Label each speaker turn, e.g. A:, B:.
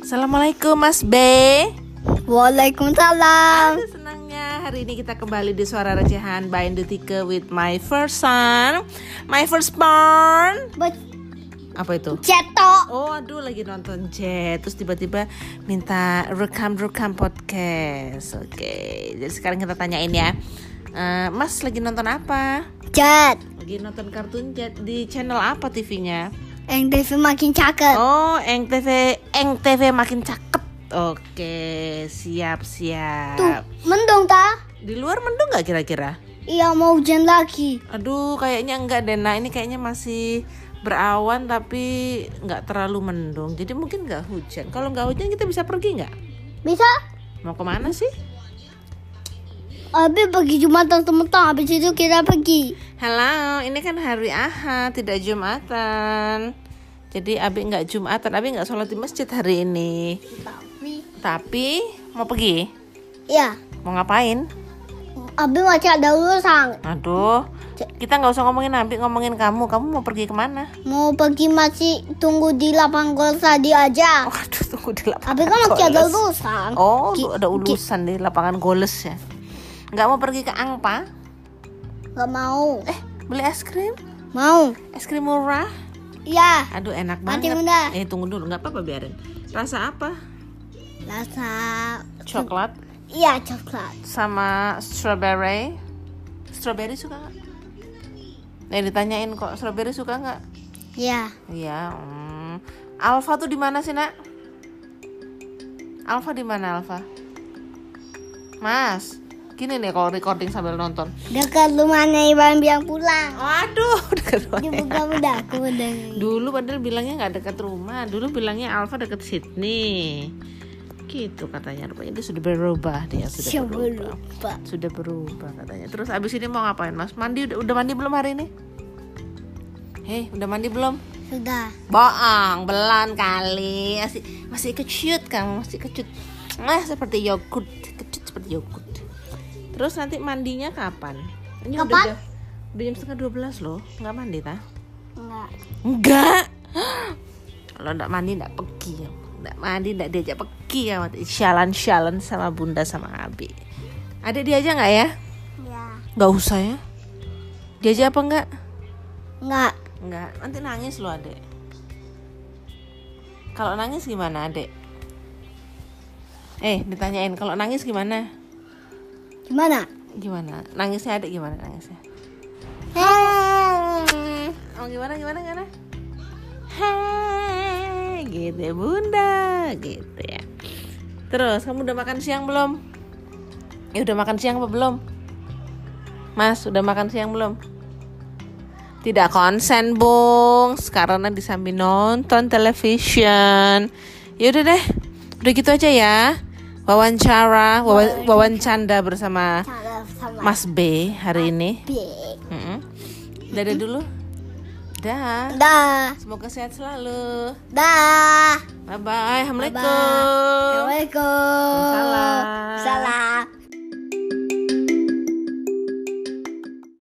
A: Assalamualaikum Mas B.
B: Waalaikumsalam.
A: Ada senangnya hari ini kita kembali di suara recehan by Indotike with my first son, my first born. Apa itu?
B: Cetok.
A: Oh aduh lagi nonton Jet Terus tiba-tiba minta rekam-rekam podcast Oke Jadi sekarang kita tanyain ya Eh, Mas lagi nonton apa?
B: Cet.
A: Lagi nonton kartun Jet Di channel apa TV-nya?
B: Yang TV makin cakep.
A: Oh Eng TV Eng TV makin cakep Oke siap-siap
B: Tuh, mendung ta?
A: Di luar mendung nggak kira-kira?
B: Iya Ya, mau hujan lagi.
A: Aduh kayaknya enggak deh Nah ini kayaknya masih berawan tapi nggak terlalu mendung jadi mungkin nggak hujan kalau nggak hujan kita bisa pergi nggak
B: Bisa?
A: Mau kemana sih?
B: Abi pergi Jumatan teman-teman. Habis itu kita pergi.
A: Halo, ini kan hari Ahad, tidak Jumatan. Jadi Abi nggak Jumatan, Abi nggak sholat di masjid hari ini. Tapi mau pergi?
B: Ya.
A: Mau ngapain?
B: Abi masih ada urusan.
A: Aduh, kita nggak usah ngomongin Abi, ngomongin kamu. Kamu mau pergi kemana?
B: Mau pergi masih tunggu di lapang gol tadi aja.
A: Waduh, tunggu di lapangan.
B: Abi kan masih ada
A: goles.
B: urusan.
A: Oh,
B: Ki-
A: lu ada ulusan di lapangan goles ya. Nggak mau pergi ke Angpa?
B: Gak mau.
A: Eh, beli es krim?
B: Mau.
A: Es krim murah?
B: Iya.
A: Aduh, enak
B: Nanti
A: banget.
B: bunda.
A: Eh, tunggu dulu, nggak apa-apa biarin. Rasa apa?
B: Rasa.
A: coklat
B: Iya coklat.
A: sama strawberry strawberry suka nggak eh ditanyain kok strawberry suka nggak
B: Iya.
A: iya hmm. alfa tuh di mana sih nak alfa di mana alfa mas gini nih kalau recording sambil nonton
B: Dekat rumahnya Iwan biang pulang.
A: waduh deket banget.
B: Jemput kamu dah, aku udah.
A: dulu padahal bilangnya nggak dekat rumah dulu bilangnya alfa dekat Sydney gitu katanya rupanya dia sudah berubah dia sudah
B: Siapa
A: berubah
B: lupa?
A: sudah berubah katanya terus abis ini mau ngapain mas mandi udah, udah mandi belum hari ini hei udah mandi belum
B: Sudah.
A: bohong belum kali masih masih kecut kamu masih kecut nah seperti yogurt kecut seperti yogurt terus nanti mandinya kapan ini udah-
B: Kapan?
A: udah udah jam setengah 12 loh nggak mandi tah
B: Enggak.
A: enggak kalau nggak mandi nggak pergi ya nggak mandi nggak diajak pergi ya sialan sialan sama bunda sama abi ada dia aja nggak ya
B: Ya.
A: Gak usah ya Diajak apa enggak?
B: Enggak.
A: Enggak, nanti nangis loh adek Kalau nangis gimana adek? Eh, ditanyain kalau nangis gimana?
B: Gimana?
A: Gimana? Nangisnya adek gimana nangisnya? Oh gimana gimana gimana? Hei, gitu ya bunda, gitu ya. Terus kamu udah makan siang belum? Ya udah makan siang apa belum? Mas udah makan siang belum? Tidak konsen bung, karena disambi nonton television. Ya udah deh, udah gitu aja ya. Wawancara, wawan, wawancanda bersama
B: Cara sama
A: Mas B hari ini.
B: B.
A: Mm-mm. Dadah dulu. Dah.
B: Dah.
A: Semoga sehat selalu.
B: Dah.
A: Bye bye. Assalamualaikum.
B: Oh. Assalamualaikum.
A: Salam.
B: Salah.